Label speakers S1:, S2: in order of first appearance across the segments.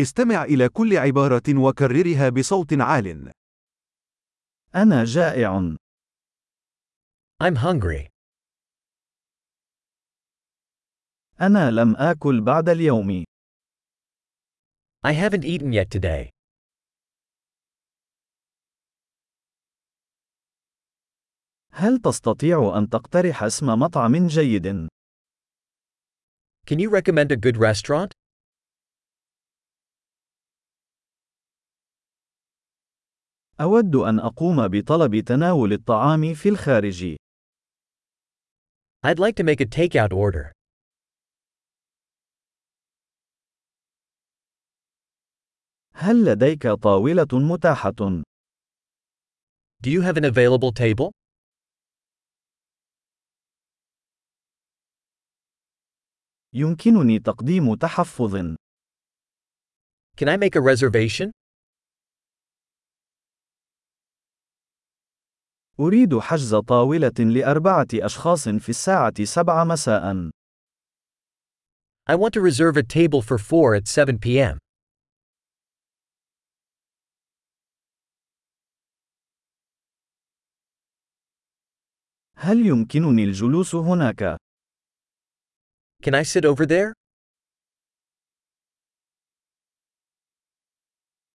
S1: استمع إلى كل عبارة وكررها بصوت عال.
S2: أنا جائع.
S3: I'm hungry.
S2: أنا لم آكل بعد اليوم.
S3: I haven't eaten yet today.
S2: هل تستطيع أن تقترح اسم مطعم جيد؟
S3: Can you recommend a good restaurant?
S2: أود أن أقوم بطلب تناول الطعام في الخارج.
S3: I'd like to make a takeout order.
S2: هل لديك طاولة متاحة؟
S3: Do you have an available table?
S2: يمكنني تقديم تحفظ.
S3: Can I make a reservation?
S2: أريد حجز طاولة لأربعة أشخاص في الساعة 7 مساء.
S3: I want to reserve a table for 4 at 7 p.m.
S2: هل يمكنني الجلوس هناك؟
S3: Can I sit over there?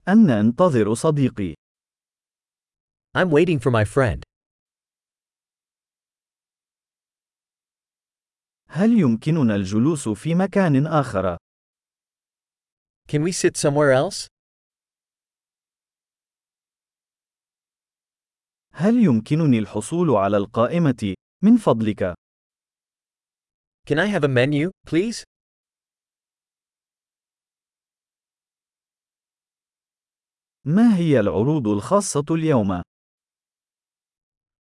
S2: أنا أنتظر صديقي.
S3: I'm waiting for my friend.
S2: هل يمكننا الجلوس في مكان آخر؟
S3: Can we sit somewhere else?
S2: هل يمكنني الحصول على القائمة؟ من فضلك،
S3: Can I have a menu, please?
S2: ما هي العروض الخاصة اليوم؟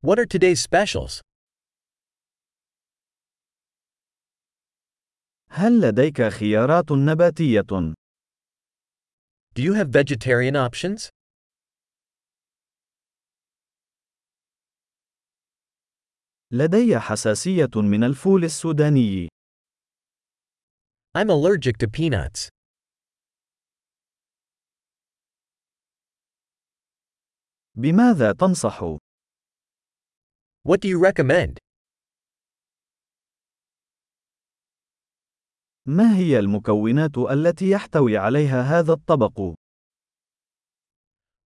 S3: What are today's specials?
S2: هل لديك خيارات نباتية؟
S3: Do you have vegetarian options?
S2: لدي حساسية من الفول السوداني.
S3: I'm allergic to peanuts.
S2: بماذا تنصح؟
S3: What do you recommend?
S2: ما هي المكونات التي يحتوي عليها هذا الطبق؟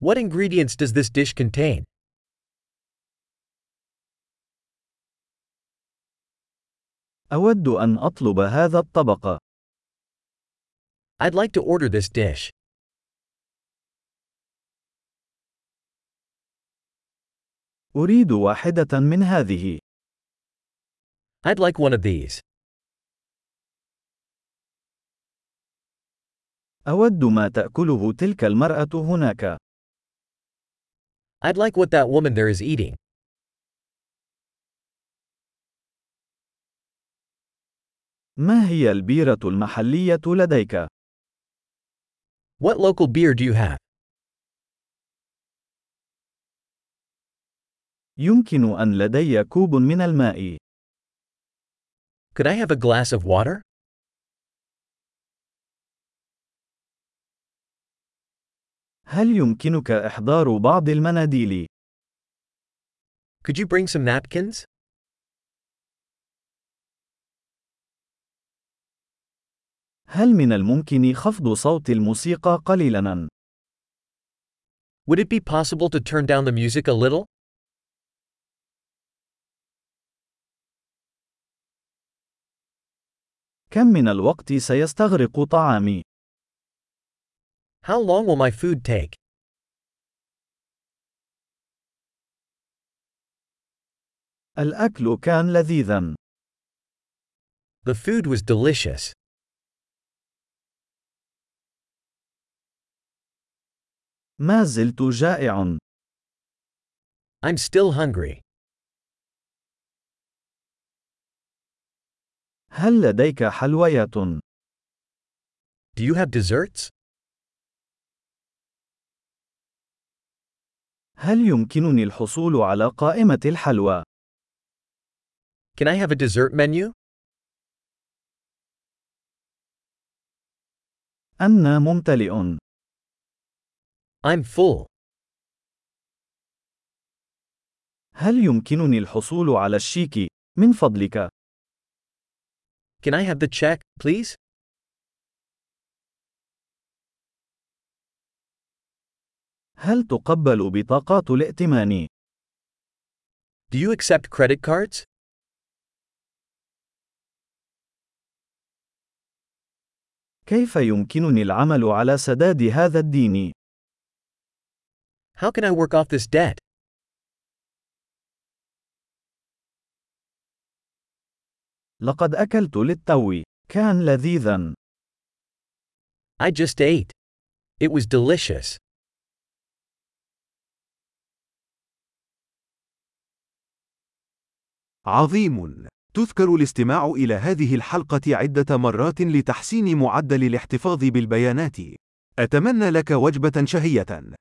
S3: What ingredients does this dish contain?
S2: أود أن أطلب هذا الطبق.
S3: I'd like to order this dish.
S2: أريد واحدة من هذه.
S3: I'd like one of these.
S2: أود ما تأكله تلك المرأة هناك.
S3: I'd like what that woman there is eating.
S2: ما هي البيرة المحلية لديك؟
S3: What local beer do you have?
S2: يمكن أن لدي كوب من الماء.
S3: Could I have a glass of water?
S2: هل يمكنك إحضار بعض المناديل؟
S3: Could you bring some napkins?
S2: هل من الممكن خفض صوت الموسيقى قليلاً؟
S3: Would it be possible to turn down the music a little?
S2: كم من الوقت سيستغرق طعامي؟
S3: How long will my food take?
S2: الأكل كان لذيذاً.
S3: The food was delicious.
S2: ما زلت جائع.
S3: I'm still hungry.
S2: هل لديك حلويات؟
S3: Do you have desserts?
S2: هل يمكنني الحصول على قائمة الحلوى؟
S3: Can I have a dessert menu?
S2: أنا ممتلئ.
S3: I'm full.
S2: هل يمكنني الحصول على الشيك؟ من فضلك.
S3: Can I have the check, please?
S2: هل تقبل بطاقات الائتمان؟
S3: Do you accept credit cards?
S2: كيف يمكنني العمل على سداد هذا الدين؟
S3: How can I work off this debt?
S2: لقد أكلت للتو. كان لذيذا.
S3: I just ate. It was delicious.
S1: عظيم. تذكر الاستماع إلى هذه الحلقة عدة مرات لتحسين معدل الاحتفاظ بالبيانات. أتمنى لك وجبة شهية.